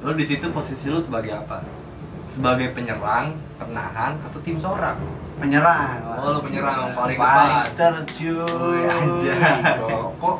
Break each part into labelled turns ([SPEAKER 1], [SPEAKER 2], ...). [SPEAKER 1] Lo di situ posisi lo sebagai apa? Sebagai penyerang, penahan, atau tim sorak?
[SPEAKER 2] Penyerang.
[SPEAKER 1] Oh, lu penyerang yang paling depan.
[SPEAKER 2] Fighter cuy.
[SPEAKER 1] Wih, anjay. Kok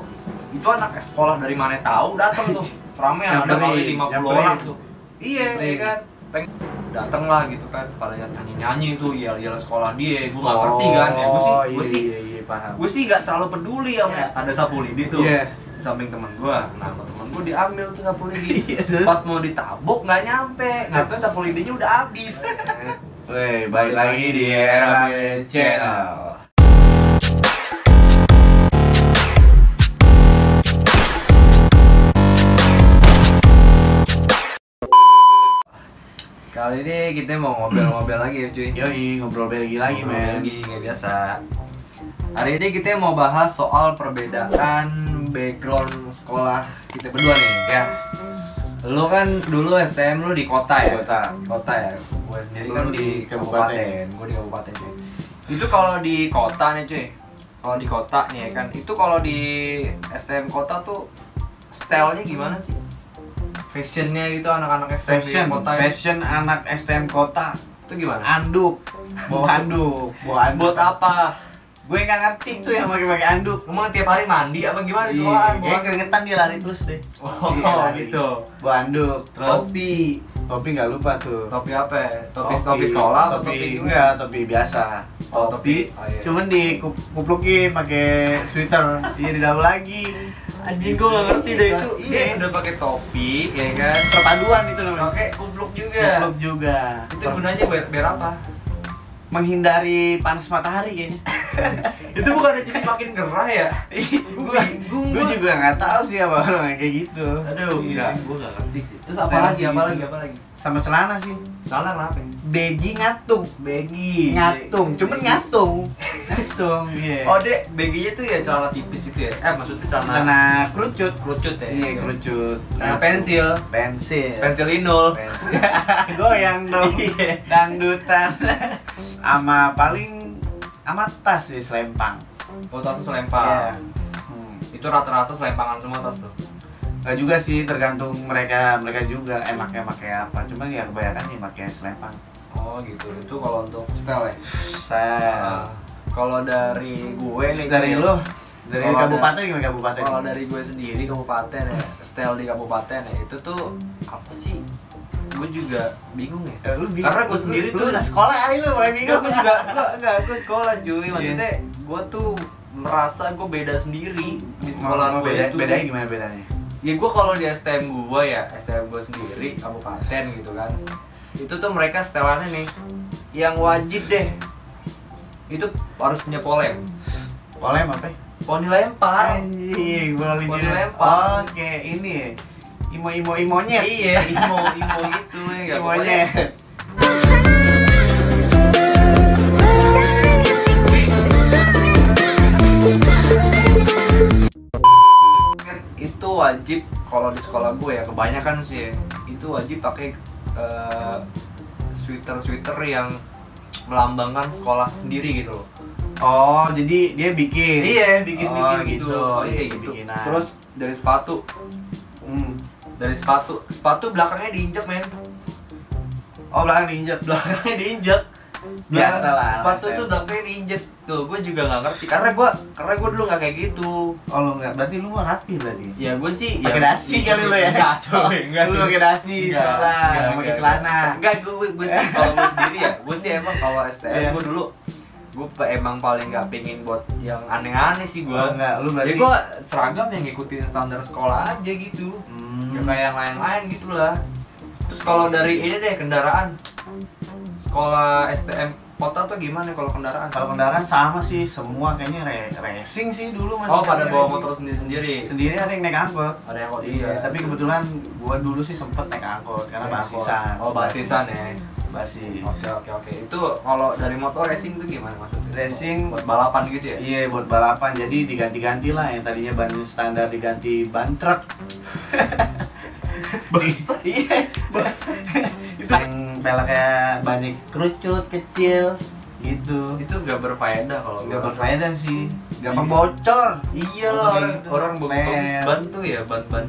[SPEAKER 1] itu anak sekolah dari mana tahu datang tuh. Ramean ada kali
[SPEAKER 2] Nyamperin,
[SPEAKER 1] 50
[SPEAKER 2] nyamperin.
[SPEAKER 1] orang tuh. Iya, iya
[SPEAKER 2] Nyamperin.
[SPEAKER 1] kan. Pengen datang lah gitu kan pada nyanyi-nyanyi tuh yel-yel sekolah dia gue nggak
[SPEAKER 2] Oh,
[SPEAKER 1] ngerti kan ya gue sih
[SPEAKER 2] iya,
[SPEAKER 1] gue sih
[SPEAKER 2] iya, iya, paham.
[SPEAKER 1] gue sih nggak terlalu peduli sama
[SPEAKER 2] Iya.
[SPEAKER 1] ada sapu lidi tuh
[SPEAKER 2] Iya.
[SPEAKER 1] di samping temen gue nah sama temen gue diambil tuh sapu lidi
[SPEAKER 2] Iya, terus?
[SPEAKER 1] pas mau ditabok nggak nyampe nggak tahu sapu lidinya udah habis
[SPEAKER 2] Weh, balik lagi di era channel.
[SPEAKER 1] kali ini kita mau ngobrol-ngobrol lagi ya cuy
[SPEAKER 2] Yoi, ngobrol lagi Iya, lagi,
[SPEAKER 1] Ngobrol
[SPEAKER 2] men.
[SPEAKER 1] lagi kayak biasa hari ini kita mau bahas soal perbedaan background sekolah kita berdua nih ya lu kan dulu STM lu di kota ya
[SPEAKER 2] Kota.
[SPEAKER 1] kota ya gue sendiri
[SPEAKER 2] Lu
[SPEAKER 1] kan
[SPEAKER 2] di
[SPEAKER 1] di
[SPEAKER 2] kabupaten.
[SPEAKER 1] kabupaten gue di kabupaten cuy itu kalau di kota nih cuy kalau di kota nih ya kan itu kalau di STM kota tuh stylenya gimana sih fashionnya gitu anak-anak STM di
[SPEAKER 2] Fashion,
[SPEAKER 1] kota ya.
[SPEAKER 2] fashion anak STM kota.
[SPEAKER 1] itu gimana
[SPEAKER 2] Anduk, bawa anduk, bawa anduk.
[SPEAKER 1] buat apa
[SPEAKER 2] Gue nggak ngerti tuh yang pakai-pakai anduk.
[SPEAKER 1] Emang tiap hari mandi apa gimana di sekolahan?
[SPEAKER 2] Iya,
[SPEAKER 1] Bang?
[SPEAKER 2] kayak keringetan dia lari terus deh.
[SPEAKER 1] Oh,
[SPEAKER 2] Iya, lari.
[SPEAKER 1] gitu.
[SPEAKER 2] Bawa anduk,
[SPEAKER 1] Terus?
[SPEAKER 2] topi. Topi nggak lupa tuh.
[SPEAKER 1] Topi apa? ya? Topi topi sekolah atau
[SPEAKER 2] topi, Iya.
[SPEAKER 1] topi gue?
[SPEAKER 2] enggak, topi biasa.
[SPEAKER 1] Oh, topi. Oh, iya.
[SPEAKER 2] Cuman dikuplukin pakai sweater. Iya, di dalam lagi.
[SPEAKER 1] Anjing gue gak ngerti deh itu. Iya,
[SPEAKER 2] Iya,
[SPEAKER 1] udah pakai topi, ya kan?
[SPEAKER 2] perpaduan itu namanya.
[SPEAKER 1] Pakai kupluk juga.
[SPEAKER 2] Kupluk juga.
[SPEAKER 1] Itu gunanya biar biar apa?
[SPEAKER 2] menghindari panas matahari kayaknya.
[SPEAKER 1] Itu bukan jadi makin gerah ya?
[SPEAKER 2] gue gue juga nggak tahu sih apa orang yang kayak gitu.
[SPEAKER 1] Aduh, enggak,
[SPEAKER 2] Iya.
[SPEAKER 1] gue gak ngerti sih. Terus
[SPEAKER 2] Saya
[SPEAKER 1] apa lagi? Apa
[SPEAKER 2] masih gitu.
[SPEAKER 1] lagi? Apa lagi?
[SPEAKER 2] Sama celana sih.
[SPEAKER 1] Salah kenapa? ya?
[SPEAKER 2] Begi ngatung,
[SPEAKER 1] Baggy.
[SPEAKER 2] ngatung, cuman
[SPEAKER 1] Baggy.
[SPEAKER 2] ngatung, ngatung. Iya.
[SPEAKER 1] Oh, Dek, baginya tuh ya celana tipis itu ya. Eh, maksudnya celana
[SPEAKER 2] Celana kerucut.
[SPEAKER 1] kerucut ya.
[SPEAKER 2] Iya kerucut.
[SPEAKER 1] Celana pensil.
[SPEAKER 2] Pensil.
[SPEAKER 1] Pensil inul.
[SPEAKER 2] Pensil. Goyang dong. Dangdutan. Ama Iya. paling ama tas sih selempang.
[SPEAKER 1] Oh, tas
[SPEAKER 2] Iya.
[SPEAKER 1] selempang.
[SPEAKER 2] Hmm.
[SPEAKER 1] Itu rata-rata selempangan semua tas tuh.
[SPEAKER 2] Gak juga sih, tergantung mereka mereka juga enaknya pakai apa. Cuman ya kebanyakan nih pakai selempang.
[SPEAKER 1] Oh gitu, itu kalau untuk style ya.
[SPEAKER 2] Sel.
[SPEAKER 1] Nah, kalau dari gue nih
[SPEAKER 2] dari
[SPEAKER 1] gue-
[SPEAKER 2] lo, dari
[SPEAKER 1] Kalau ada-
[SPEAKER 2] kabupaten gimana kabupaten?
[SPEAKER 1] Kalau dari gue sendiri kabupaten ya, style di kabupaten ya itu tuh apa sih? Gue juga bingung ya.
[SPEAKER 2] Eh, lu bingung.
[SPEAKER 1] Karena gue
[SPEAKER 2] Lu-
[SPEAKER 1] sendiri
[SPEAKER 2] lu
[SPEAKER 1] tuh-
[SPEAKER 2] udah sekolah kali lu, makanya
[SPEAKER 1] Enggak,
[SPEAKER 2] bingung.
[SPEAKER 1] gue juga enggak, enggak, gue sekolah cuy. Maksudnya gue tuh merasa gue beda sendiri di sekolah
[SPEAKER 2] Mau- mau
[SPEAKER 1] gue
[SPEAKER 2] beda-
[SPEAKER 1] itu.
[SPEAKER 2] bedanya gimana bedanya?
[SPEAKER 1] ya gue kalau di STM gue ya STM gue sendiri kabupaten gitu kan itu tuh mereka setelannya nih yang wajib deh itu harus punya polem
[SPEAKER 2] Polem apa?
[SPEAKER 1] poni lempar
[SPEAKER 2] Anjing, boleh
[SPEAKER 1] Boleh
[SPEAKER 2] jadi.
[SPEAKER 1] lempar.
[SPEAKER 2] Oke, ini ya. Imo imo imonya.
[SPEAKER 1] iya imo imo itu ya nggak
[SPEAKER 2] Imonya.
[SPEAKER 1] pokoknya itu wajib kalau di sekolah gue ya kebanyakan sih ya, itu wajib pakai sweater sweater yang melambangkan sekolah sendiri gitu loh
[SPEAKER 2] Oh, jadi dia bikin.
[SPEAKER 1] iya bikin bikin
[SPEAKER 2] Oh,
[SPEAKER 1] gitu,
[SPEAKER 2] gitu.
[SPEAKER 1] Pokoknya
[SPEAKER 2] Iya,
[SPEAKER 1] kayak gitu.
[SPEAKER 2] bikinan.
[SPEAKER 1] terus dari sepatu
[SPEAKER 2] Hmm.
[SPEAKER 1] dari sepatu sepatu belakangnya diinjek men
[SPEAKER 2] Oh, belakang diinjak.
[SPEAKER 1] belakangnya diinjek
[SPEAKER 2] Biasa lah,
[SPEAKER 1] sepatu
[SPEAKER 2] alasan.
[SPEAKER 1] tuh belakangnya diinjek tuh gue juga nggak ngerti karena gue karena gue dulu nggak kayak gitu
[SPEAKER 2] Oh, lu enggak. Berarti lu mau rapi berarti.
[SPEAKER 1] ya gue sih
[SPEAKER 2] Pakai dasi kali lo ya?
[SPEAKER 1] nggak Iya, coy nggak
[SPEAKER 2] Lu
[SPEAKER 1] coy.
[SPEAKER 2] pakai dasi
[SPEAKER 1] Nggak,
[SPEAKER 2] sekolah,
[SPEAKER 1] nggak,
[SPEAKER 2] nggak pakai
[SPEAKER 1] nggak,
[SPEAKER 2] celana.
[SPEAKER 1] nggak. nggak gue gue sih kalau gue sendiri ya gue sih emang kalau STM
[SPEAKER 2] Iya.
[SPEAKER 1] gue dulu gue pe- emang paling nggak pengen buat yang aneh-aneh sih gue
[SPEAKER 2] Oh, enggak, lu
[SPEAKER 1] jadi
[SPEAKER 2] berarti.
[SPEAKER 1] gue seragam yang ngikutin standar sekolah aja gitu
[SPEAKER 2] Hmm.
[SPEAKER 1] ya kayak yang lain-lain gitu lah terus kalau dari ini deh kendaraan sekolah STM kota tuh gimana kalau kendaraan
[SPEAKER 2] Kalau kendaraan sama sih, semua kayaknya re- racing sih dulu masih.
[SPEAKER 1] oh pada
[SPEAKER 2] ada
[SPEAKER 1] bawa
[SPEAKER 2] racing.
[SPEAKER 1] motor Oh, sendiri-sendiri
[SPEAKER 2] Sendiri ada yang naik angkot.
[SPEAKER 1] ada yang kok
[SPEAKER 2] Iya, tapi kebetulan gua dulu sih sempet naik angkot karena basisan.
[SPEAKER 1] oh basisan ya
[SPEAKER 2] Basis.
[SPEAKER 1] oke oke oke itu kalau dari motor racing tuh gimana maksudnya
[SPEAKER 2] Racing-
[SPEAKER 1] buat balapan gitu ya
[SPEAKER 2] Iya buat balapan jadi diganti-ganti lah yang tadinya ban standar diganti ban truk.
[SPEAKER 1] Basah.
[SPEAKER 2] Iya basah. Yang peleknya banyak kerucut kecil gitu.
[SPEAKER 1] itu nggak berfaedah kalau
[SPEAKER 2] Gak
[SPEAKER 1] gua.
[SPEAKER 2] berfaedah sih. Gampang
[SPEAKER 1] Iya.
[SPEAKER 2] bocor.
[SPEAKER 1] iya
[SPEAKER 2] Motor
[SPEAKER 1] lah
[SPEAKER 2] kayak
[SPEAKER 1] orang
[SPEAKER 2] gitu.
[SPEAKER 1] orang bagus
[SPEAKER 2] Mer.
[SPEAKER 1] ban tuh ya ban ban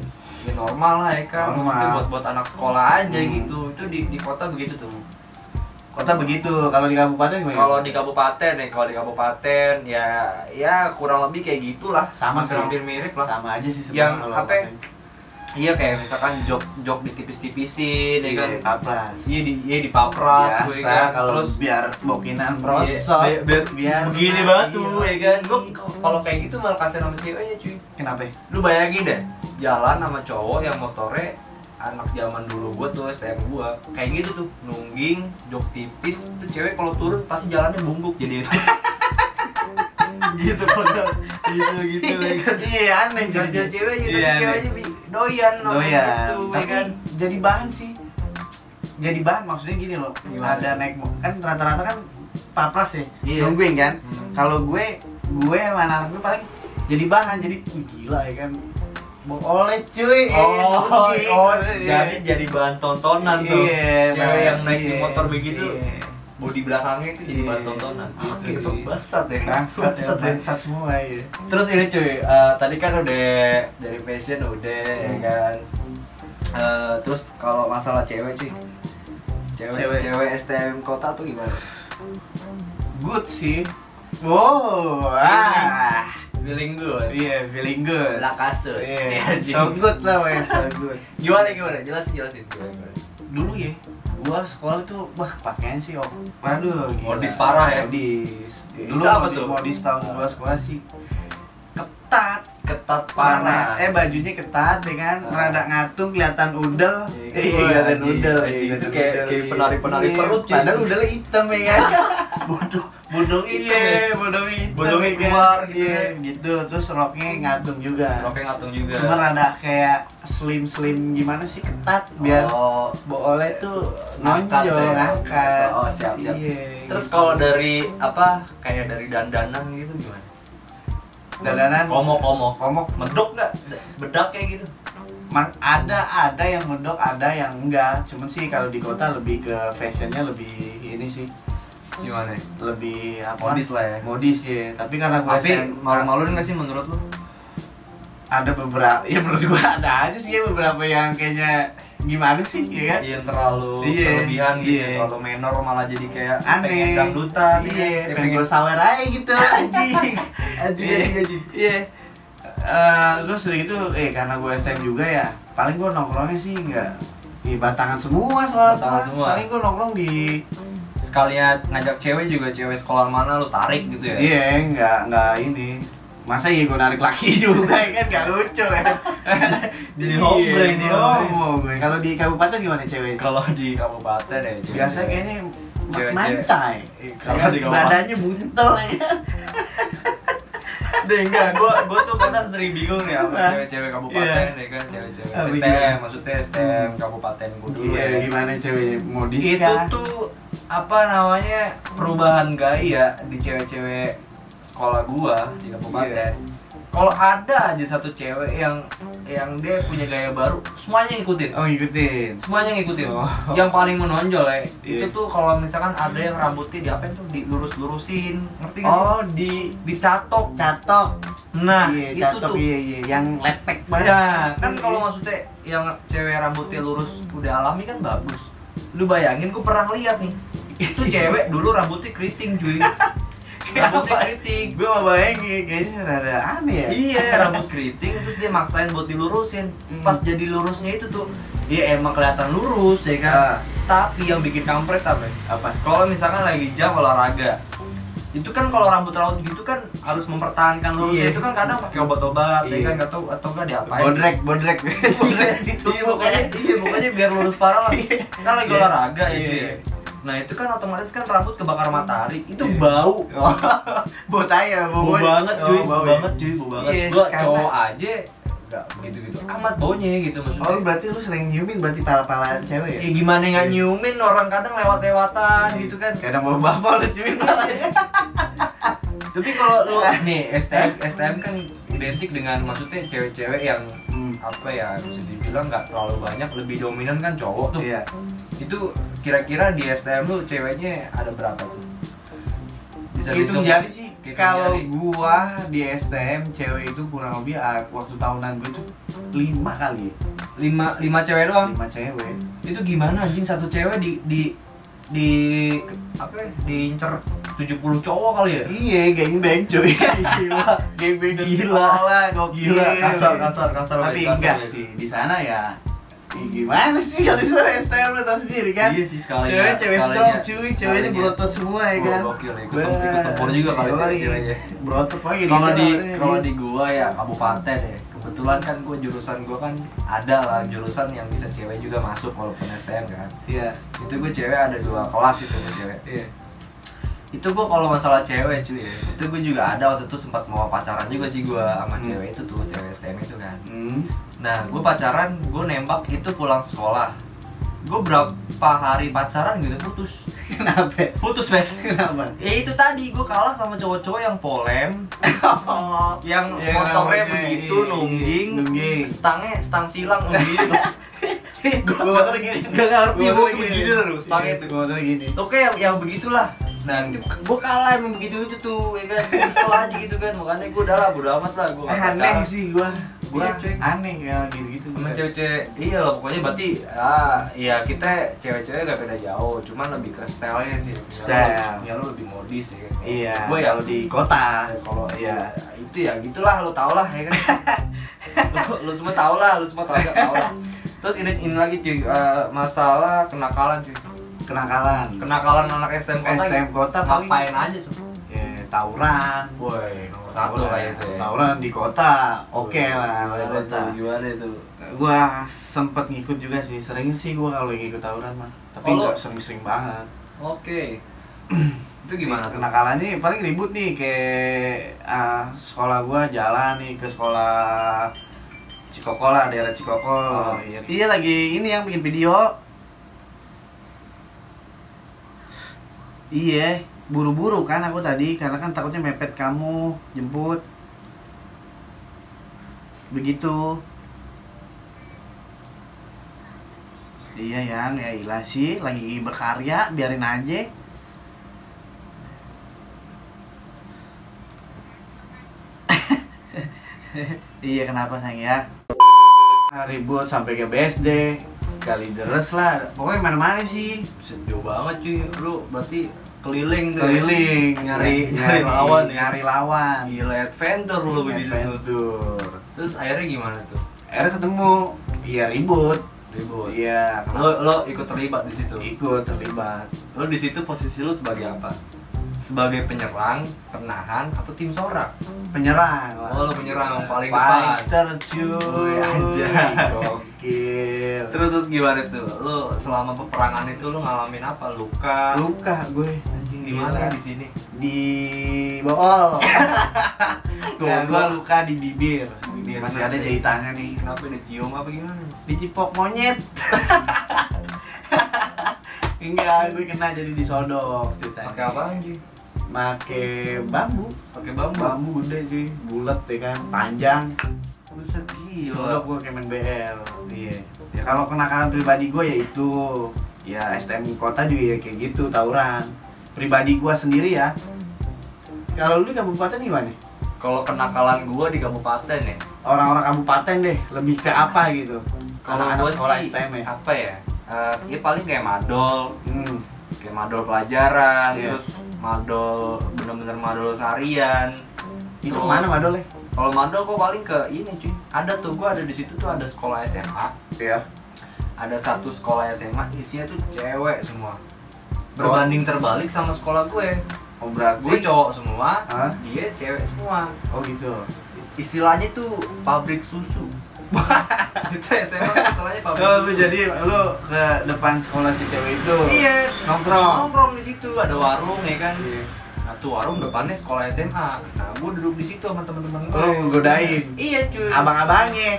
[SPEAKER 1] ya normal lah ya kan
[SPEAKER 2] Normal.
[SPEAKER 1] Maksudnya buat buat anak sekolah aja
[SPEAKER 2] Hmm.
[SPEAKER 1] gitu itu di di kota begitu tuh
[SPEAKER 2] Kota begitu, kalau di kabupaten gimana?
[SPEAKER 1] kalau di kabupaten ya kalau di kabupaten ya ya kurang lebih kayak gitulah
[SPEAKER 2] Sama
[SPEAKER 1] hampir
[SPEAKER 2] sih.
[SPEAKER 1] hampir mirip lah
[SPEAKER 2] sama aja sih
[SPEAKER 1] Yang
[SPEAKER 2] sebenarnya
[SPEAKER 1] apa ya? iya kayak misalkan jok jok ditipis-tipisin ya kan
[SPEAKER 2] Iya, kaplas.
[SPEAKER 1] iya di iya di papras gue
[SPEAKER 2] biasa
[SPEAKER 1] kan
[SPEAKER 2] kalau
[SPEAKER 1] terus
[SPEAKER 2] biar bokinan prosot iya.
[SPEAKER 1] Iya, biar, biar, begini banget tuh ya kan
[SPEAKER 2] Lu
[SPEAKER 1] Gue kalau kayak gitu malah kasihan sama ceweknya cuy
[SPEAKER 2] kenapa ya?
[SPEAKER 1] lu bayangin deh jalan sama cowok yang motornya anak zaman dulu gua tuh SM gua kayak gitu tuh nungging jok tipis tuh cewek kalau turun pasti jalannya bungkuk jadi itu
[SPEAKER 2] gitu gitu gitu ya kan iya aneh
[SPEAKER 1] kasihan ceweknya tapi
[SPEAKER 2] Iya,
[SPEAKER 1] ceweknya bi- doyan sama
[SPEAKER 2] doyan
[SPEAKER 1] gitu, ya
[SPEAKER 2] tapi
[SPEAKER 1] kan
[SPEAKER 2] jadi bahan sih jadi bahan maksudnya gini loh
[SPEAKER 1] Gimana
[SPEAKER 2] ada
[SPEAKER 1] tuh?
[SPEAKER 2] naik mo- kan rata-rata kan papras ya
[SPEAKER 1] Iya.
[SPEAKER 2] nungguin kan
[SPEAKER 1] Hmm.
[SPEAKER 2] kalau gue gue sama anak gue paling jadi bahan jadi "Wih, gila ya kan Bo- oleh cuy
[SPEAKER 1] Oh,
[SPEAKER 2] Nungging.
[SPEAKER 1] oh,
[SPEAKER 2] Iya.
[SPEAKER 1] jadi jadi bahan tontonan tuh.
[SPEAKER 2] Iya,
[SPEAKER 1] Cewek
[SPEAKER 2] Bang.
[SPEAKER 1] yang naik di
[SPEAKER 2] Iya,
[SPEAKER 1] motor begitu,
[SPEAKER 2] iya.
[SPEAKER 1] body belakangnya itu jadi
[SPEAKER 2] Iya.
[SPEAKER 1] bahan tontonan.
[SPEAKER 2] Gitu
[SPEAKER 1] Gitu,
[SPEAKER 2] sih.
[SPEAKER 1] bangsat ya.
[SPEAKER 2] bangsat ya
[SPEAKER 1] Bangsat ya.
[SPEAKER 2] bangsat semua ya
[SPEAKER 1] Terus ini cuy, eh, tadi kan udah dari fashion udah ya
[SPEAKER 2] Hmm.
[SPEAKER 1] kan. Eh, terus kalau masalah cewek cuy, cewek,
[SPEAKER 2] Cewek.
[SPEAKER 1] cewek STM kota tuh gimana?
[SPEAKER 2] good sih wow ah.
[SPEAKER 1] Feeling eh. gue,
[SPEAKER 2] Iya, feeling good.
[SPEAKER 1] La casa.
[SPEAKER 2] Iya.
[SPEAKER 1] Si anjing.
[SPEAKER 2] So good lah, weh, so good.
[SPEAKER 1] Gimana gimana? Jelasin jelasin. Gimana, gimana?
[SPEAKER 2] Dulu ya, gua sekolah tuh wah pakaian sih, Om. Waduh, gila.
[SPEAKER 1] Modis parah ya?
[SPEAKER 2] Modis.
[SPEAKER 1] Itu apa
[SPEAKER 2] modi-
[SPEAKER 1] tuh?
[SPEAKER 2] Modis tahun gua sekolah sih. Ketat,
[SPEAKER 1] Ketat
[SPEAKER 2] parah.
[SPEAKER 1] parah.
[SPEAKER 2] Eh bajunya ketat ya kan,
[SPEAKER 1] Ah.
[SPEAKER 2] rada ngatung kelihatan udel.
[SPEAKER 1] Iya,
[SPEAKER 2] Eh,
[SPEAKER 1] iya,
[SPEAKER 2] kelihatan
[SPEAKER 1] anjing.
[SPEAKER 2] udel.
[SPEAKER 1] Anjing,
[SPEAKER 2] iya,
[SPEAKER 1] itu
[SPEAKER 2] kelihatan
[SPEAKER 1] kayak-
[SPEAKER 2] udel,
[SPEAKER 1] kayak
[SPEAKER 2] iya.
[SPEAKER 1] penari-penari
[SPEAKER 2] Iya,
[SPEAKER 1] perut, cuy.
[SPEAKER 2] Padahal udelnya hitam ya kan.
[SPEAKER 1] bodoh, bodoh itu.
[SPEAKER 2] Iya, bodongnya hitam.
[SPEAKER 1] Bodongnya
[SPEAKER 2] ya kan.
[SPEAKER 1] keluar gitu
[SPEAKER 2] Iya,
[SPEAKER 1] ya.
[SPEAKER 2] gitu. Terus roknya ngatung juga.
[SPEAKER 1] Roknya ngatung juga.
[SPEAKER 2] Cuma rada kayak slim slim gimana sih ketat biar
[SPEAKER 1] Oh,
[SPEAKER 2] boleh tuh
[SPEAKER 1] Ngangkat
[SPEAKER 2] nonjol
[SPEAKER 1] ya.
[SPEAKER 2] ngangkat.
[SPEAKER 1] Oh, siap, siap.
[SPEAKER 2] Iya.
[SPEAKER 1] terus kalau dari apa kayak dari dandanan gitu gimana?
[SPEAKER 2] dadanan
[SPEAKER 1] Komok komok.
[SPEAKER 2] komok
[SPEAKER 1] Medok nggak? Bedak kayak gitu?
[SPEAKER 2] Ma- ada ada yang mendok ada yang enggak cuman sih kalau di kota lebih ke fashionnya lebih ini sih
[SPEAKER 1] Gimana? ya?
[SPEAKER 2] lebih apa
[SPEAKER 1] Modis lah ya.
[SPEAKER 2] modis ya tapi karena gue
[SPEAKER 1] Tapi kan
[SPEAKER 2] STM
[SPEAKER 1] malu-maluin nggak sih menurut lu?
[SPEAKER 2] ada beberapa ya menurut gue ada aja sih ya beberapa yang kayaknya gimana sih ya kan
[SPEAKER 1] Iya terlalu
[SPEAKER 2] Iya,
[SPEAKER 1] berlebihan gitu,
[SPEAKER 2] iya.
[SPEAKER 1] terlalu menor malah jadi kayak pengen
[SPEAKER 2] aneh
[SPEAKER 1] dangdutan,
[SPEAKER 2] iya
[SPEAKER 1] ya, kayak
[SPEAKER 2] pengen, gue sawer aja gitu anjing anjing anjing anjing iya Eh, terus udah gitu eh karena gue STM juga ya paling gue nongkrongnya sih nggak di batangan semua soalnya
[SPEAKER 1] Batangan
[SPEAKER 2] gua.
[SPEAKER 1] semua.
[SPEAKER 2] paling gue nongkrong di
[SPEAKER 1] sekalian ngajak cewek juga cewek sekolah mana lu tarik gitu ya?
[SPEAKER 2] iya nggak nggak ini masa iya gue narik laki juga ya kan nggak lucu ya
[SPEAKER 1] Jadi hombre,
[SPEAKER 2] Iya,
[SPEAKER 1] jadi
[SPEAKER 2] jadi
[SPEAKER 1] hombre.
[SPEAKER 2] hombre. kalau di kabupaten gimana cewek
[SPEAKER 1] Kalau di kabupaten ya cewek.
[SPEAKER 2] biasa kayaknya ma-
[SPEAKER 1] Cewek-cewek.
[SPEAKER 2] mantai
[SPEAKER 1] Iya, kalau
[SPEAKER 2] kalau
[SPEAKER 1] di kabupaten.
[SPEAKER 2] badannya buntel ya kan
[SPEAKER 1] deh enggak, gua gua tuh kadang sering bingung ya sama
[SPEAKER 2] Hah?
[SPEAKER 1] cewek-cewek kabupaten
[SPEAKER 2] Iya.
[SPEAKER 1] ya kan, cewek-cewek
[SPEAKER 2] Ah,
[SPEAKER 1] STM,
[SPEAKER 2] bingung. Hmm.
[SPEAKER 1] maksudnya STM kabupaten gua dulu
[SPEAKER 2] Iya,
[SPEAKER 1] ya.
[SPEAKER 2] gimana cewek modis ya?
[SPEAKER 1] itu
[SPEAKER 2] kah?
[SPEAKER 1] tuh apa namanya perubahan gaya di cewek-cewek sekolah gua di kabupaten.
[SPEAKER 2] Iya.
[SPEAKER 1] Kalau ada aja satu cewek yang yang dia punya gaya baru, semuanya ngikutin.
[SPEAKER 2] Oh ngikutin.
[SPEAKER 1] Semuanya ngikutin.
[SPEAKER 2] Oh.
[SPEAKER 1] Yang paling menonjol ya, itu
[SPEAKER 2] Iya.
[SPEAKER 1] tuh kalau misalkan ada yang rambutnya di apa itu dilurus-lurusin, ngerti nggak sih?
[SPEAKER 2] Oh di
[SPEAKER 1] Dicatok.
[SPEAKER 2] catok.
[SPEAKER 1] Nah,
[SPEAKER 2] iya,
[SPEAKER 1] itu tuh.
[SPEAKER 2] catok, Iya iya yang lepek banget.
[SPEAKER 1] Ya, kan kalau maksudnya yang cewek rambutnya lurus udah alami kan bagus. Lu bayangin gue pernah lihat nih. Itu cewek dulu rambutnya keriting, cuy. Rambutnya
[SPEAKER 2] Iya. Kenapa?
[SPEAKER 1] keriting.
[SPEAKER 2] gue mau bayangin kayaknya rada aneh ya.
[SPEAKER 1] Iya, rambut keriting terus dia maksain buat dilurusin.
[SPEAKER 2] Hmm.
[SPEAKER 1] Pas jadi lurusnya itu tuh, dia emang kelihatan lurus ya kan.
[SPEAKER 2] Ah.
[SPEAKER 1] Tapi yang bikin kampret apa? ya?
[SPEAKER 2] Apa?
[SPEAKER 1] Kalau misalkan lagi jam olahraga, itu kan kalau rambut-rambut gitu kan harus mempertahankan lurusnya
[SPEAKER 2] Iya.
[SPEAKER 1] itu kan kadang pakai obat-obat, ya
[SPEAKER 2] Iya.
[SPEAKER 1] kan atau atau enggak diapain?
[SPEAKER 2] Bodrek bodrek.
[SPEAKER 1] Iya,
[SPEAKER 2] bodrek gitu.
[SPEAKER 1] iya pokoknya iya pokoknya biar lurus parah lah kan lagi
[SPEAKER 2] Iya.
[SPEAKER 1] olahraga
[SPEAKER 2] Iya,
[SPEAKER 1] itu ya
[SPEAKER 2] iya.
[SPEAKER 1] nah itu kan otomatis kan rambut kebakar matahari itu bau
[SPEAKER 2] Oh, bau
[SPEAKER 1] Iya.
[SPEAKER 2] tayar,
[SPEAKER 1] bau banget cuy bau
[SPEAKER 2] ya.
[SPEAKER 1] banget cuy bau banget
[SPEAKER 2] Iya,
[SPEAKER 1] gua
[SPEAKER 2] karena-
[SPEAKER 1] cowok aja nggak begitu gitu amat baunya gitu
[SPEAKER 2] Oh lu
[SPEAKER 1] maksudnya
[SPEAKER 2] berarti lu sering nyiumin berarti pala-pala cewek ya?
[SPEAKER 1] ya gimana nggak nyiumin orang kadang lewat-lewatan gitu kan Iya.
[SPEAKER 2] Kadang bawa bapak lu ciumin palanya.
[SPEAKER 1] tapi kalau lu nih STM STM kan identik dengan maksudnya cewek-cewek yang
[SPEAKER 2] Hmm.
[SPEAKER 1] apa ya bisa dibilang nggak terlalu banyak lebih dominan kan cowok tuh
[SPEAKER 2] Iya.
[SPEAKER 1] itu kira-kira di STM lu ceweknya ada berapa tuh? Bisa
[SPEAKER 2] Hitung jari sih,
[SPEAKER 1] Gitu,
[SPEAKER 2] Kalau
[SPEAKER 1] nyari.
[SPEAKER 2] gua di STM cewek itu kurang lebih ah, waktu tahunan gua itu lima kali, ya.
[SPEAKER 1] lima lima cewek doang
[SPEAKER 2] lima cewek.
[SPEAKER 1] itu gimana anjing satu cewek di di di apa ya, diincer 70 cowok kali ya
[SPEAKER 2] Iya, gengbang cuy.
[SPEAKER 1] gila
[SPEAKER 2] gengbang
[SPEAKER 1] Gila.
[SPEAKER 2] gila, gokil.
[SPEAKER 1] gila kasar kasar kasar
[SPEAKER 2] Tapi
[SPEAKER 1] kasar,
[SPEAKER 2] enggak
[SPEAKER 1] kasar.
[SPEAKER 2] sih, di sana ya Ih, gimana sih kalau disuruh STM lu tau sendiri kan?
[SPEAKER 1] iya sih sekali
[SPEAKER 2] Cewek cewek strong cuy, ceweknya berotot semua ya kan?
[SPEAKER 1] Gokil, ikut tem- ikut tempur juga kali
[SPEAKER 2] Yoi.
[SPEAKER 1] cewek-ceweknya.
[SPEAKER 2] Berotot pokoknya gitu
[SPEAKER 1] kalau di
[SPEAKER 2] namanya,
[SPEAKER 1] kalau
[SPEAKER 2] iya.
[SPEAKER 1] di gua ya kabupaten ya kebetulan kan gua jurusan gua kan ada lah jurusan yang bisa cewek juga masuk walaupun STM kan
[SPEAKER 2] Iya,
[SPEAKER 1] itu gue cewek ada dua kelas itu gue cewek
[SPEAKER 2] iya
[SPEAKER 1] itu gue kalau masalah cewek cuy ya, itu gue juga ada waktu itu sempat mau pacaran juga sih gue sama
[SPEAKER 2] Hmm.
[SPEAKER 1] cewek itu tuh cewek STM itu kan
[SPEAKER 2] Hmm,
[SPEAKER 1] nah gue pacaran gue nembak itu pulang sekolah gue berapa hari pacaran gitu putus
[SPEAKER 2] kenapa?
[SPEAKER 1] putus men
[SPEAKER 2] Kenapa?
[SPEAKER 1] ya itu tadi gue kalah sama cowok-cowok yang polem
[SPEAKER 2] Oh,
[SPEAKER 1] yang
[SPEAKER 2] Yang
[SPEAKER 1] motornya
[SPEAKER 2] rambutnya,
[SPEAKER 1] begitu
[SPEAKER 2] iya, iya,
[SPEAKER 1] nungging,
[SPEAKER 2] nungging.
[SPEAKER 1] stangnya stang silang nungging tuh
[SPEAKER 2] gue motor gini
[SPEAKER 1] Nggak ngerti, gua
[SPEAKER 2] Gua motor
[SPEAKER 1] begini
[SPEAKER 2] gini.
[SPEAKER 1] dulu, stangnya
[SPEAKER 2] Iya,
[SPEAKER 1] tuh.
[SPEAKER 2] gua motor gini
[SPEAKER 1] Oke yang yang begitulah. Nah, gue kalah emang begitu itu tuh, ya kan? Gua Kesel aja gitu kan, makanya gue udah lah, bodo amat lah, gue gak
[SPEAKER 2] Eh, aneh
[SPEAKER 1] pacaran.
[SPEAKER 2] sih gua gua
[SPEAKER 1] Iya, cuy.
[SPEAKER 2] aneh ya gitu gitu
[SPEAKER 1] Sama cewek-cewek, iya lah pokoknya berarti ah, ya kita cewek-cewek gak beda jauh, cuman lebih ke stylenya sih. Ya,
[SPEAKER 2] Style.
[SPEAKER 1] lu- Ya lu lebih modis ya.
[SPEAKER 2] iya
[SPEAKER 1] Gue ya
[SPEAKER 2] kalau di kota
[SPEAKER 1] kalau
[SPEAKER 2] iya
[SPEAKER 1] ya itu ya gitulah lu tau lah ya kan lu, lu semua tau lah lu semua tau gak tau lah terus ini ini lagi cuy eh, masalah kenakalan cuy
[SPEAKER 2] kenakalan
[SPEAKER 1] kenakalan anak STM kota
[SPEAKER 2] STM kota paling
[SPEAKER 1] ngapain aja tuh
[SPEAKER 2] ya, tawuran
[SPEAKER 1] boy nomor satu
[SPEAKER 2] Tawuran.
[SPEAKER 1] kayak itu ya
[SPEAKER 2] tawuran di kota oke lah di
[SPEAKER 1] gimana
[SPEAKER 2] kota
[SPEAKER 1] tuh gimana itu
[SPEAKER 2] gua sempet ngikut juga sih sering sih gua kalau ngikut tawuran mah tapi
[SPEAKER 1] Oh, lu-
[SPEAKER 2] nggak sering-sering banget
[SPEAKER 1] oke itu gimana tuh
[SPEAKER 2] kenakalannya paling ribut nih kayak ah, sekolah gua jalan nih ke sekolah Cikokol lah daerah Cikokol
[SPEAKER 1] Oh, iya.
[SPEAKER 2] iya. lagi ini yang bikin video iya buru-buru kan aku tadi karena kan takutnya mepet kamu jemput begitu iya yang ya ilah sih lagi berkarya biarin aja Iya kenapa sayang ya? Ah, Ribut sampai ke BSD, kali deres lah. Pokoknya mana-mana sih.
[SPEAKER 1] Buset, jauh banget cuy lu berarti keliling tuh ya.
[SPEAKER 2] Keliling,
[SPEAKER 1] nyari nyari lawan ya
[SPEAKER 2] nyari lawan.
[SPEAKER 1] gila adventure lu begitu tuh
[SPEAKER 2] Adventure.
[SPEAKER 1] terus akhirnya gimana tuh
[SPEAKER 2] Akhirnya ketemu, iya ribut.
[SPEAKER 1] ribut
[SPEAKER 2] Iya,
[SPEAKER 1] lo lo ikut terlibat di situ
[SPEAKER 2] ikut terlibat.
[SPEAKER 1] lo di situ posisi lo sebagai apa sebagai penyerang penahan atau tim sorak
[SPEAKER 2] Penyerang. lah.
[SPEAKER 1] Oh, lu penyerang, paling
[SPEAKER 2] Fighter, cuy.
[SPEAKER 1] Wih, anjay.
[SPEAKER 2] Gokil.
[SPEAKER 1] terus terus gimana tuh lo selama peperangan itu lo ngalamin apa luka
[SPEAKER 2] luka gue
[SPEAKER 1] anjing di mana di sini
[SPEAKER 2] di bool.
[SPEAKER 1] Goblok.
[SPEAKER 2] Nah, gue luka di bibir.
[SPEAKER 1] Bibir.
[SPEAKER 2] Masih ada jahitannya nih.
[SPEAKER 1] kenapa dicium apa gimana
[SPEAKER 2] dicipok monyet enggak gue kena jadi disodok ceritanya
[SPEAKER 1] pakai apa anjing
[SPEAKER 2] Pakai bambu
[SPEAKER 1] pakai bambu
[SPEAKER 2] bambu udah cuy bulat ya kan panjang
[SPEAKER 1] buset gila
[SPEAKER 2] disodok gue kayak main BL iya ya kalau kenakalan pribadi gue ya itu ya STM kota juga ya kayak gitu tawuran pribadi gue sendiri ya kalau lu di kabupaten gimana
[SPEAKER 1] kalau kenakalan gua di kabupaten ya
[SPEAKER 2] orang-orang kabupaten deh lebih ke apa gitu
[SPEAKER 1] kalau
[SPEAKER 2] Anak-anak
[SPEAKER 1] gua
[SPEAKER 2] sekolah
[SPEAKER 1] sih
[SPEAKER 2] STM ya
[SPEAKER 1] apa ya Eh, ya paling kayak madol
[SPEAKER 2] hmm.
[SPEAKER 1] kayak madol pelajaran,
[SPEAKER 2] Iya.
[SPEAKER 1] terus madol bener-bener madol seharian.
[SPEAKER 2] itu
[SPEAKER 1] Terus,
[SPEAKER 2] kemana madol ya?
[SPEAKER 1] Kalau madol kok paling ke ini cuy. Ada tuh gua ada di situ tuh ada sekolah SMA,
[SPEAKER 2] Iya.
[SPEAKER 1] ada satu sekolah SMA isinya tuh cewek semua. Berbanding terbalik sama sekolah gue.
[SPEAKER 2] Oh berarti
[SPEAKER 1] Gue cowok semua,
[SPEAKER 2] Hah?
[SPEAKER 1] dia cewek semua.
[SPEAKER 2] Oh gitu.
[SPEAKER 1] Istilahnya tuh pabrik susu. itu SMA tuh istilahnya pabrik.
[SPEAKER 2] Lo lu
[SPEAKER 1] susu.
[SPEAKER 2] Oh, jadi lu ke depan sekolah si cewek itu.
[SPEAKER 1] Iya,
[SPEAKER 2] Nongkrong.
[SPEAKER 1] nongkrong di situ ada warung ya kan.
[SPEAKER 2] Iya.
[SPEAKER 1] Nah tuh warung depannya sekolah SMA. Nah gue duduk di situ sama teman-teman gue.
[SPEAKER 2] Lo ngegodain?
[SPEAKER 1] Iya cuy.
[SPEAKER 2] Abang-abangnya.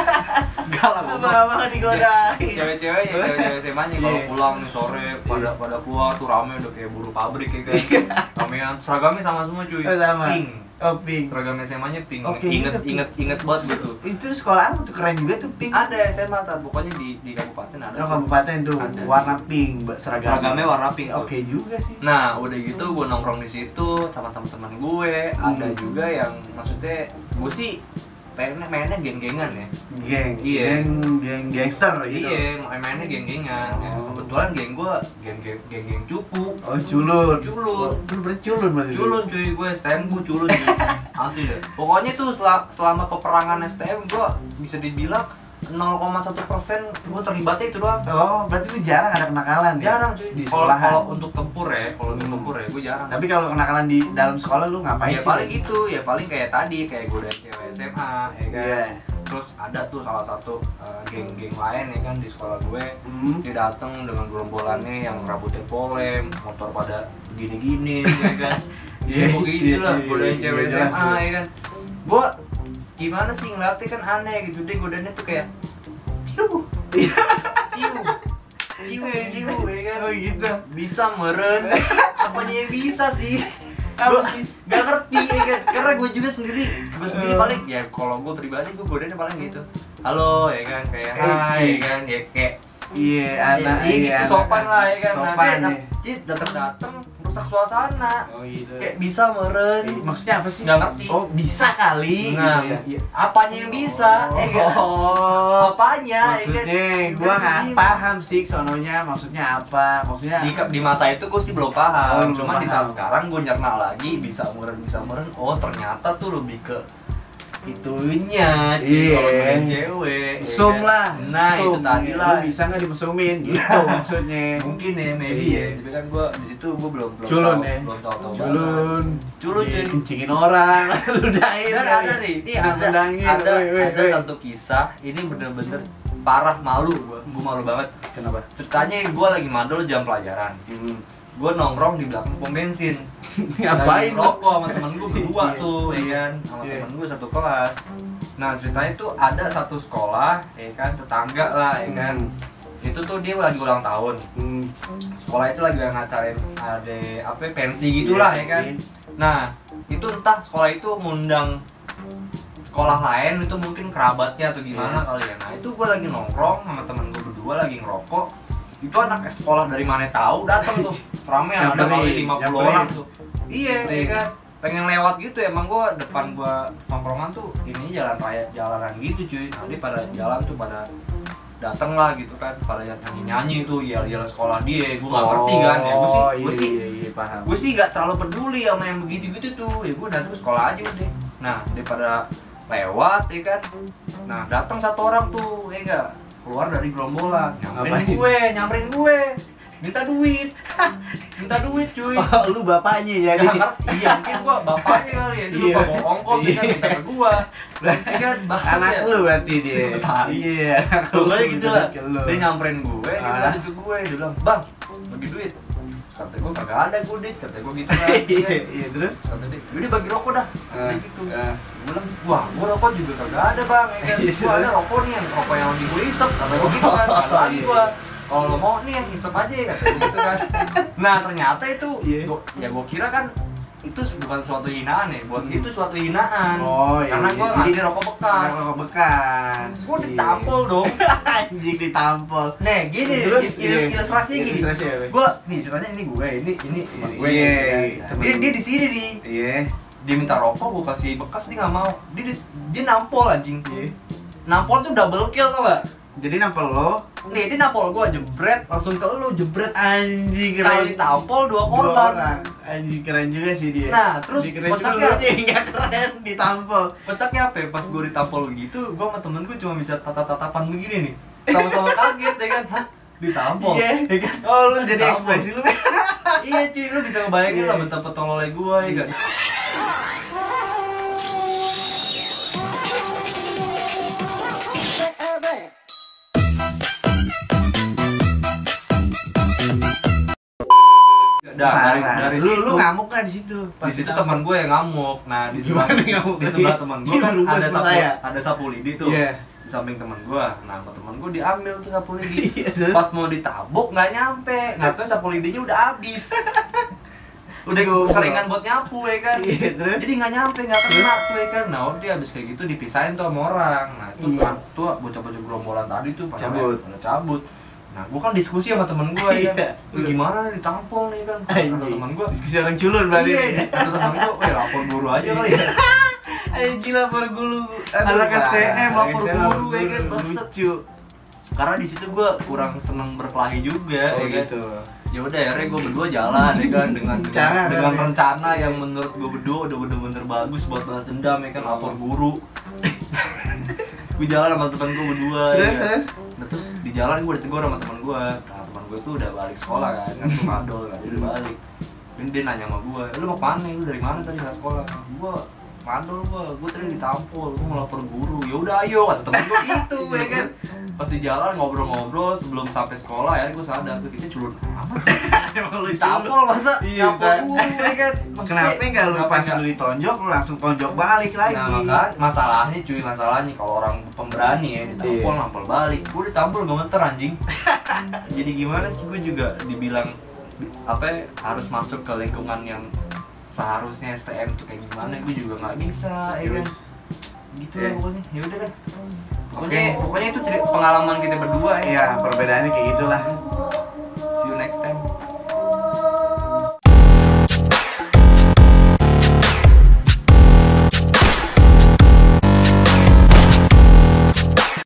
[SPEAKER 1] Enggak lah. goblok.
[SPEAKER 2] Abang-abang digodain.
[SPEAKER 1] Cewek-cewek ya, cewek-cewek SMA nya kalau
[SPEAKER 2] Iya.
[SPEAKER 1] pulang nih sore pada pada keluar tuh rame udah kayak buru pabrik ya guys. Ramean seragamnya sama semua cuy.
[SPEAKER 2] Oh, sama.
[SPEAKER 1] Pink.
[SPEAKER 2] Oh pink.
[SPEAKER 1] Seragam SMA nya pink.
[SPEAKER 2] Oke,
[SPEAKER 1] inget
[SPEAKER 2] gitu, pink.
[SPEAKER 1] inget inget banget gitu.
[SPEAKER 2] Itu sekolah apa tuh keren juga tuh pink.
[SPEAKER 1] Ada SMA tuh pokoknya di di kabupaten ada.
[SPEAKER 2] Lo
[SPEAKER 1] tuh.
[SPEAKER 2] kabupaten tuh
[SPEAKER 1] Ada.
[SPEAKER 2] warna pink ba- seragamnya.
[SPEAKER 1] Seragamnya warna pink tuh.
[SPEAKER 2] Oke juga sih.
[SPEAKER 1] Nah udah gitu gue nongkrong nongkrong di situ sama teman-teman gue ada
[SPEAKER 2] Hmm.
[SPEAKER 1] juga yang maksudnya gue sih pengennya mainnya geng-gengan ya
[SPEAKER 2] geng
[SPEAKER 1] Iya.
[SPEAKER 2] geng geng gangster gitu
[SPEAKER 1] iya main mainnya geng-gengan ya,
[SPEAKER 2] Oh.
[SPEAKER 1] kebetulan geng gue geng-geng geng-geng cupu
[SPEAKER 2] oh iya. culun
[SPEAKER 1] Culun.
[SPEAKER 2] lu berculun berarti
[SPEAKER 1] culun cuy gue STM gue culun cuy asli deh pokoknya tuh sel- selama peperangan STM gue bisa dibilang 0,1 persen gue terlibatnya itu doang
[SPEAKER 2] oh berarti lu jarang ada kenakalan ya?
[SPEAKER 1] jarang cuy
[SPEAKER 2] di
[SPEAKER 1] kalau
[SPEAKER 2] sekolahan
[SPEAKER 1] kalau untuk tempur ya kalau untuk
[SPEAKER 2] Hmm.
[SPEAKER 1] tempur ya gue jarang
[SPEAKER 2] tapi kalau kenakalan di dalam sekolah lu ngapain
[SPEAKER 1] ya
[SPEAKER 2] sih
[SPEAKER 1] paling itu ya paling kayak tadi kayak gue cewek SMA ya kan
[SPEAKER 2] Iya.
[SPEAKER 1] terus ada tuh salah satu eh, geng-geng lain ya kan di sekolah gue
[SPEAKER 2] Hmm.
[SPEAKER 1] dia datang dengan gerombolannya yang rambutnya polem motor pada gini-gini ya kan
[SPEAKER 2] Iya,
[SPEAKER 1] ya begitu
[SPEAKER 2] iya,
[SPEAKER 1] lah
[SPEAKER 2] iya,
[SPEAKER 1] godain
[SPEAKER 2] iya,
[SPEAKER 1] cewek
[SPEAKER 2] jelas,
[SPEAKER 1] SMA
[SPEAKER 2] iya.
[SPEAKER 1] ya kan gue gimana sih ngeliatnya kan aneh gitu deh godainnya tuh kayak ciu
[SPEAKER 2] Iya.
[SPEAKER 1] ciu ciu ciu ya kan
[SPEAKER 2] oh gitu
[SPEAKER 1] bisa meren apanya yang bisa sih apa
[SPEAKER 2] Gua-
[SPEAKER 1] sih gak ngerti ya kan karena gue juga sendiri gue sendiri
[SPEAKER 2] Eh.
[SPEAKER 1] paling ya kalau gue pribadi gue godainnya paling gitu halo ya kan kayak
[SPEAKER 2] Eh,
[SPEAKER 1] hai
[SPEAKER 2] iya.
[SPEAKER 1] ya kan ya kayak
[SPEAKER 2] iya anak
[SPEAKER 1] iya gitu
[SPEAKER 2] anak-
[SPEAKER 1] sopan lah ya kan
[SPEAKER 2] sopan
[SPEAKER 1] nah,
[SPEAKER 2] ya
[SPEAKER 1] dia datang datang rusak suasana
[SPEAKER 2] oh gitu
[SPEAKER 1] kayak bisa meren
[SPEAKER 2] Eh, maksudnya apa sih
[SPEAKER 1] Nggak ngerti.
[SPEAKER 2] oh bisa kali
[SPEAKER 1] Nah,
[SPEAKER 2] gitu ya
[SPEAKER 1] apanya yang bisa eh kan
[SPEAKER 2] oh
[SPEAKER 1] apanya ya kan
[SPEAKER 2] maksudnya gua nggak
[SPEAKER 1] Iya.
[SPEAKER 2] paham sih sononya maksudnya apa maksudnya
[SPEAKER 1] di, di masa itu gue sih belum paham
[SPEAKER 2] Oh, Ya. belum
[SPEAKER 1] cuma di saat
[SPEAKER 2] paham.
[SPEAKER 1] sekarang gue nyerna lagi bisa meren bisa meren oh ternyata tuh lebih ke itunya cuy, kalau
[SPEAKER 2] Iya.
[SPEAKER 1] meren cewek ya
[SPEAKER 2] mesum
[SPEAKER 1] kan?
[SPEAKER 2] lah
[SPEAKER 1] nah itu
[SPEAKER 2] mesum.
[SPEAKER 1] tadi
[SPEAKER 2] Lu
[SPEAKER 1] lah
[SPEAKER 2] bisa nggak dimesumin gitu maksudnya
[SPEAKER 1] mungkin ya maybe
[SPEAKER 2] Iya.
[SPEAKER 1] ya tapi kan gue di situ gue belum belum
[SPEAKER 2] Culun
[SPEAKER 1] tahu
[SPEAKER 2] ya.
[SPEAKER 1] belum tahu tahu banget.
[SPEAKER 2] culun
[SPEAKER 1] Culun, cuy.
[SPEAKER 2] dikencingin orang ludahin
[SPEAKER 1] dan Iya, ada nih ini ada ada, ada satu kisah ini bener-bener parah malu gue gue malu banget
[SPEAKER 2] kenapa
[SPEAKER 1] ceritanya gue lagi mandul jam pelajaran gue nongkrong di belakang pom bensin
[SPEAKER 2] ngapain
[SPEAKER 1] Lagi
[SPEAKER 2] lu?
[SPEAKER 1] rokok sama temen gue berdua
[SPEAKER 2] Iya.
[SPEAKER 1] tuh ya kan sama
[SPEAKER 2] Iya.
[SPEAKER 1] temen gue satu kelas nah ceritanya tuh ada satu sekolah ya kan tetangga lah ya kan itu tuh dia lagi ulang tahun
[SPEAKER 2] Hmm.
[SPEAKER 1] sekolah itu lagi ngacarain ada apa ya, pensi
[SPEAKER 2] Iya,
[SPEAKER 1] gitulah ya kan
[SPEAKER 2] sih.
[SPEAKER 1] nah itu entah sekolah itu ngundang sekolah lain itu mungkin kerabatnya atau gimana
[SPEAKER 2] Iya.
[SPEAKER 1] kali ya nah itu gue lagi nongkrong sama temen gue berdua lagi ngerokok itu anak sekolah dari mana tahu datang tuh ramean ada kali
[SPEAKER 2] Nyamperin,
[SPEAKER 1] 50
[SPEAKER 2] nyamperin.
[SPEAKER 1] orang tuh iya
[SPEAKER 2] Nyamperin.
[SPEAKER 1] iya kan pengen lewat gitu emang gue depan gue nongkrongan tuh ini jalan raya jalanan gitu cuy nanti pada jalan tuh pada dateng lah gitu kan pada nyanyi nyanyi tuh ya jalan sekolah dia gue nggak ngerti kan ya gue sih
[SPEAKER 2] Oh,
[SPEAKER 1] gue
[SPEAKER 2] iya,
[SPEAKER 1] sih
[SPEAKER 2] iya, iya, paham.
[SPEAKER 1] gue sih gak terlalu peduli sama yang begitu-gitu tuh ya gue datang ke sekolah aja udah nah daripada lewat ya kan nah datang satu orang tuh ya enggak keluar dari gerombolan nyamperin
[SPEAKER 2] Ngapain?
[SPEAKER 1] gue nyamperin gue minta duit minta duit cuy
[SPEAKER 2] Oh, lu bapaknya ya
[SPEAKER 1] Gak
[SPEAKER 2] gitu.
[SPEAKER 1] ngerti, iya mungkin gua bapaknya kali ya, dia lupa
[SPEAKER 2] Iya.
[SPEAKER 1] bawa ongkos ya kan, minta ke gua Iya kan, bahasa
[SPEAKER 2] anak lu berarti dia
[SPEAKER 1] Tahu.
[SPEAKER 2] iya anak lu
[SPEAKER 1] Pokoknya gitu lah.
[SPEAKER 2] ke lu.
[SPEAKER 1] Dia nyamperin gue, dia
[SPEAKER 2] Ah.
[SPEAKER 1] bilang ke gue, dia bilang, bang, bagi duit Kata gue, kagak ada gue duit, kata gue gitu kan
[SPEAKER 2] iya iya terus
[SPEAKER 1] Kata dia, yaudah bagi rokok dah, kata dia
[SPEAKER 2] Eh,
[SPEAKER 1] gitu
[SPEAKER 2] eh.
[SPEAKER 1] Gue bilang, wah gue rokok juga kagak ada bang, ya kan
[SPEAKER 2] Iya,
[SPEAKER 1] Gue ada rokok nih, yang rokok yang lagi gue isep, kata gue gitu kan Kata
[SPEAKER 2] Iya.
[SPEAKER 1] lagi gue, kalau lo mau nih yang isep aja ya, kata gue gitu kan Nah ternyata itu,
[SPEAKER 2] Iya.
[SPEAKER 1] gua- ya gue kira kan itu bukan suatu hinaan ya, buat itu suatu hinaan
[SPEAKER 2] Hmm. oh iya
[SPEAKER 1] Karena gue
[SPEAKER 2] iya.
[SPEAKER 1] ngasih
[SPEAKER 2] Jadi,
[SPEAKER 1] rokok bekas
[SPEAKER 2] karena rokok bekas
[SPEAKER 1] Gue
[SPEAKER 2] Iya.
[SPEAKER 1] ditampol dong
[SPEAKER 2] anjing ditampol
[SPEAKER 1] Nah gini,
[SPEAKER 2] Terus,
[SPEAKER 1] il-
[SPEAKER 2] iya.
[SPEAKER 1] ilustrasinya gini
[SPEAKER 2] Ilustrasi apa?
[SPEAKER 1] Gue, nih ceritanya ini gue, ini ini teman gue
[SPEAKER 2] Iya,
[SPEAKER 1] gitu kan.
[SPEAKER 2] iya,
[SPEAKER 1] Nah,
[SPEAKER 2] temen
[SPEAKER 1] Dia,
[SPEAKER 2] lu.
[SPEAKER 1] dia di sini nih
[SPEAKER 2] iya
[SPEAKER 1] Dia minta rokok, gue kasih bekas, dia gak mau Dia, dia, dia nampol anjing
[SPEAKER 2] iya
[SPEAKER 1] Nampol tuh double kill tau gak?
[SPEAKER 2] jadi nampol lo
[SPEAKER 1] Nih, dia nampol gue, jebret, langsung ke lu, jebret
[SPEAKER 2] anjing
[SPEAKER 1] Kali
[SPEAKER 2] keren
[SPEAKER 1] ditampol dua
[SPEAKER 2] Iya. Dua
[SPEAKER 1] korban
[SPEAKER 2] orang. anjing keren juga sih dia
[SPEAKER 1] Nah, terus
[SPEAKER 2] Anjing keren juga
[SPEAKER 1] kocaknya-
[SPEAKER 2] lu anjing nggak keren ditampol
[SPEAKER 1] Pecaknya apa ya? Pas gue ditampol gitu, gue sama temen gue cuma bisa tatap-tatapan begini nih Sama-sama kaget ya kan, hah? Ditampol?
[SPEAKER 2] Iya.
[SPEAKER 1] Ya kan?
[SPEAKER 2] oh lu jadi
[SPEAKER 1] Ditampol.
[SPEAKER 2] ekspresi lu
[SPEAKER 1] iya cuy lu bisa ngebayangin
[SPEAKER 2] Iya.
[SPEAKER 1] lah betapa tololnya gua ya kan Nah, dari,
[SPEAKER 2] Parah.
[SPEAKER 1] dari
[SPEAKER 2] lu,
[SPEAKER 1] situ,
[SPEAKER 2] lu ngamuk kan di situ
[SPEAKER 1] di situ teman gue yang ngamuk. Nah, di sebelah
[SPEAKER 2] Gimana ngamuk?
[SPEAKER 1] di sebelah teman gue
[SPEAKER 2] Gimana
[SPEAKER 1] kan
[SPEAKER 2] rubah
[SPEAKER 1] ada
[SPEAKER 2] sama
[SPEAKER 1] sapu
[SPEAKER 2] saya?
[SPEAKER 1] ada sapu lidi tuh.
[SPEAKER 2] Iya.
[SPEAKER 1] Di samping teman gue. Nah, sama teman gue diambil tuh sapu lidi.
[SPEAKER 2] Iya, terus?
[SPEAKER 1] Pas mau ditabok nggak nyampe. Nah, tuh sapu lidinya udah habis. udah
[SPEAKER 2] Goblok.
[SPEAKER 1] seringan buat nyapu ya kan.
[SPEAKER 2] Iya, terus?
[SPEAKER 1] Jadi nggak nyampe, nggak kena tuh ya kan. Nah, dia habis kayak gitu dipisahin tuh sama orang. Nah, itu
[SPEAKER 2] Iya.
[SPEAKER 1] tuh bocah-bocah gerombolan tadi tuh pada
[SPEAKER 2] Cabut.
[SPEAKER 1] pada cabut. nah gue kan diskusi sama temen gue ya
[SPEAKER 2] Iya.
[SPEAKER 1] kan Lu gimana nih ditampung nih kan kata
[SPEAKER 2] Anjing.
[SPEAKER 1] temen gue
[SPEAKER 2] diskusi orang culun berarti
[SPEAKER 1] iya kata temen gue "Weh, lapor guru aja kali
[SPEAKER 2] Iya.
[SPEAKER 1] ya
[SPEAKER 2] Anjing lapor guru
[SPEAKER 1] Anak STM, lapor guru, ya kan, bangsat.
[SPEAKER 2] Lucu
[SPEAKER 1] karena di situ gue kurang seneng berkelahi juga
[SPEAKER 2] Oh
[SPEAKER 1] ya kan?
[SPEAKER 2] gitu
[SPEAKER 1] ya udah akhirnya gue berdua jalan ya kan dengan dengan,
[SPEAKER 2] Cara,
[SPEAKER 1] dengan
[SPEAKER 2] kan, ya?
[SPEAKER 1] rencana yang menurut gue berdua udah bener-bener bagus buat balas dendam ya kan lapor guru gue jalan sama temen gue berdua
[SPEAKER 2] Terus,
[SPEAKER 1] ya kan?
[SPEAKER 2] terus?
[SPEAKER 1] Nah, terus di jalan gue ditegur sama temen gue nah temen gue tuh udah balik sekolah kan kan tuh madol kan dia udah balik dan dia nanya sama gue lu mau kemana lu dari mana tadi nggak sekolah Nah, gue madol gue gue tadi ditampol gue mau lapor guru ya udah ayo kata temen gue gitu ya kan pas di jalan ngobrol-ngobrol sebelum sampai sekolah ya gue sadar tuh kita culun amat
[SPEAKER 2] Emang lu
[SPEAKER 1] ditampol masa
[SPEAKER 2] Iya,
[SPEAKER 1] nyampol
[SPEAKER 2] Pak.
[SPEAKER 1] guru ya kan Maksudnya,
[SPEAKER 2] Kenapa nggak lu
[SPEAKER 1] kenapa
[SPEAKER 2] pas
[SPEAKER 1] nggak-
[SPEAKER 2] lu ditonjok lu langsung tonjok balik lagi?
[SPEAKER 1] Nah, maka masalahnya cuy, masalahnya kalau orang pemberani ya ditampol
[SPEAKER 2] Iya.
[SPEAKER 1] nampol balik. Gue ditampol gak ngeter anjing. Jadi gimana sih gue juga dibilang apa ya, harus masuk ke lingkungan yang seharusnya STM tuh kayak gimana gue juga nggak bisa ya kan
[SPEAKER 2] Terus?
[SPEAKER 1] gitu
[SPEAKER 2] Iya.
[SPEAKER 1] ya pokoknya ya udah deh pokoknya pokoknya itu cerita pengalaman kita berdua ya
[SPEAKER 2] Iya, perbedaannya kayak gitulah.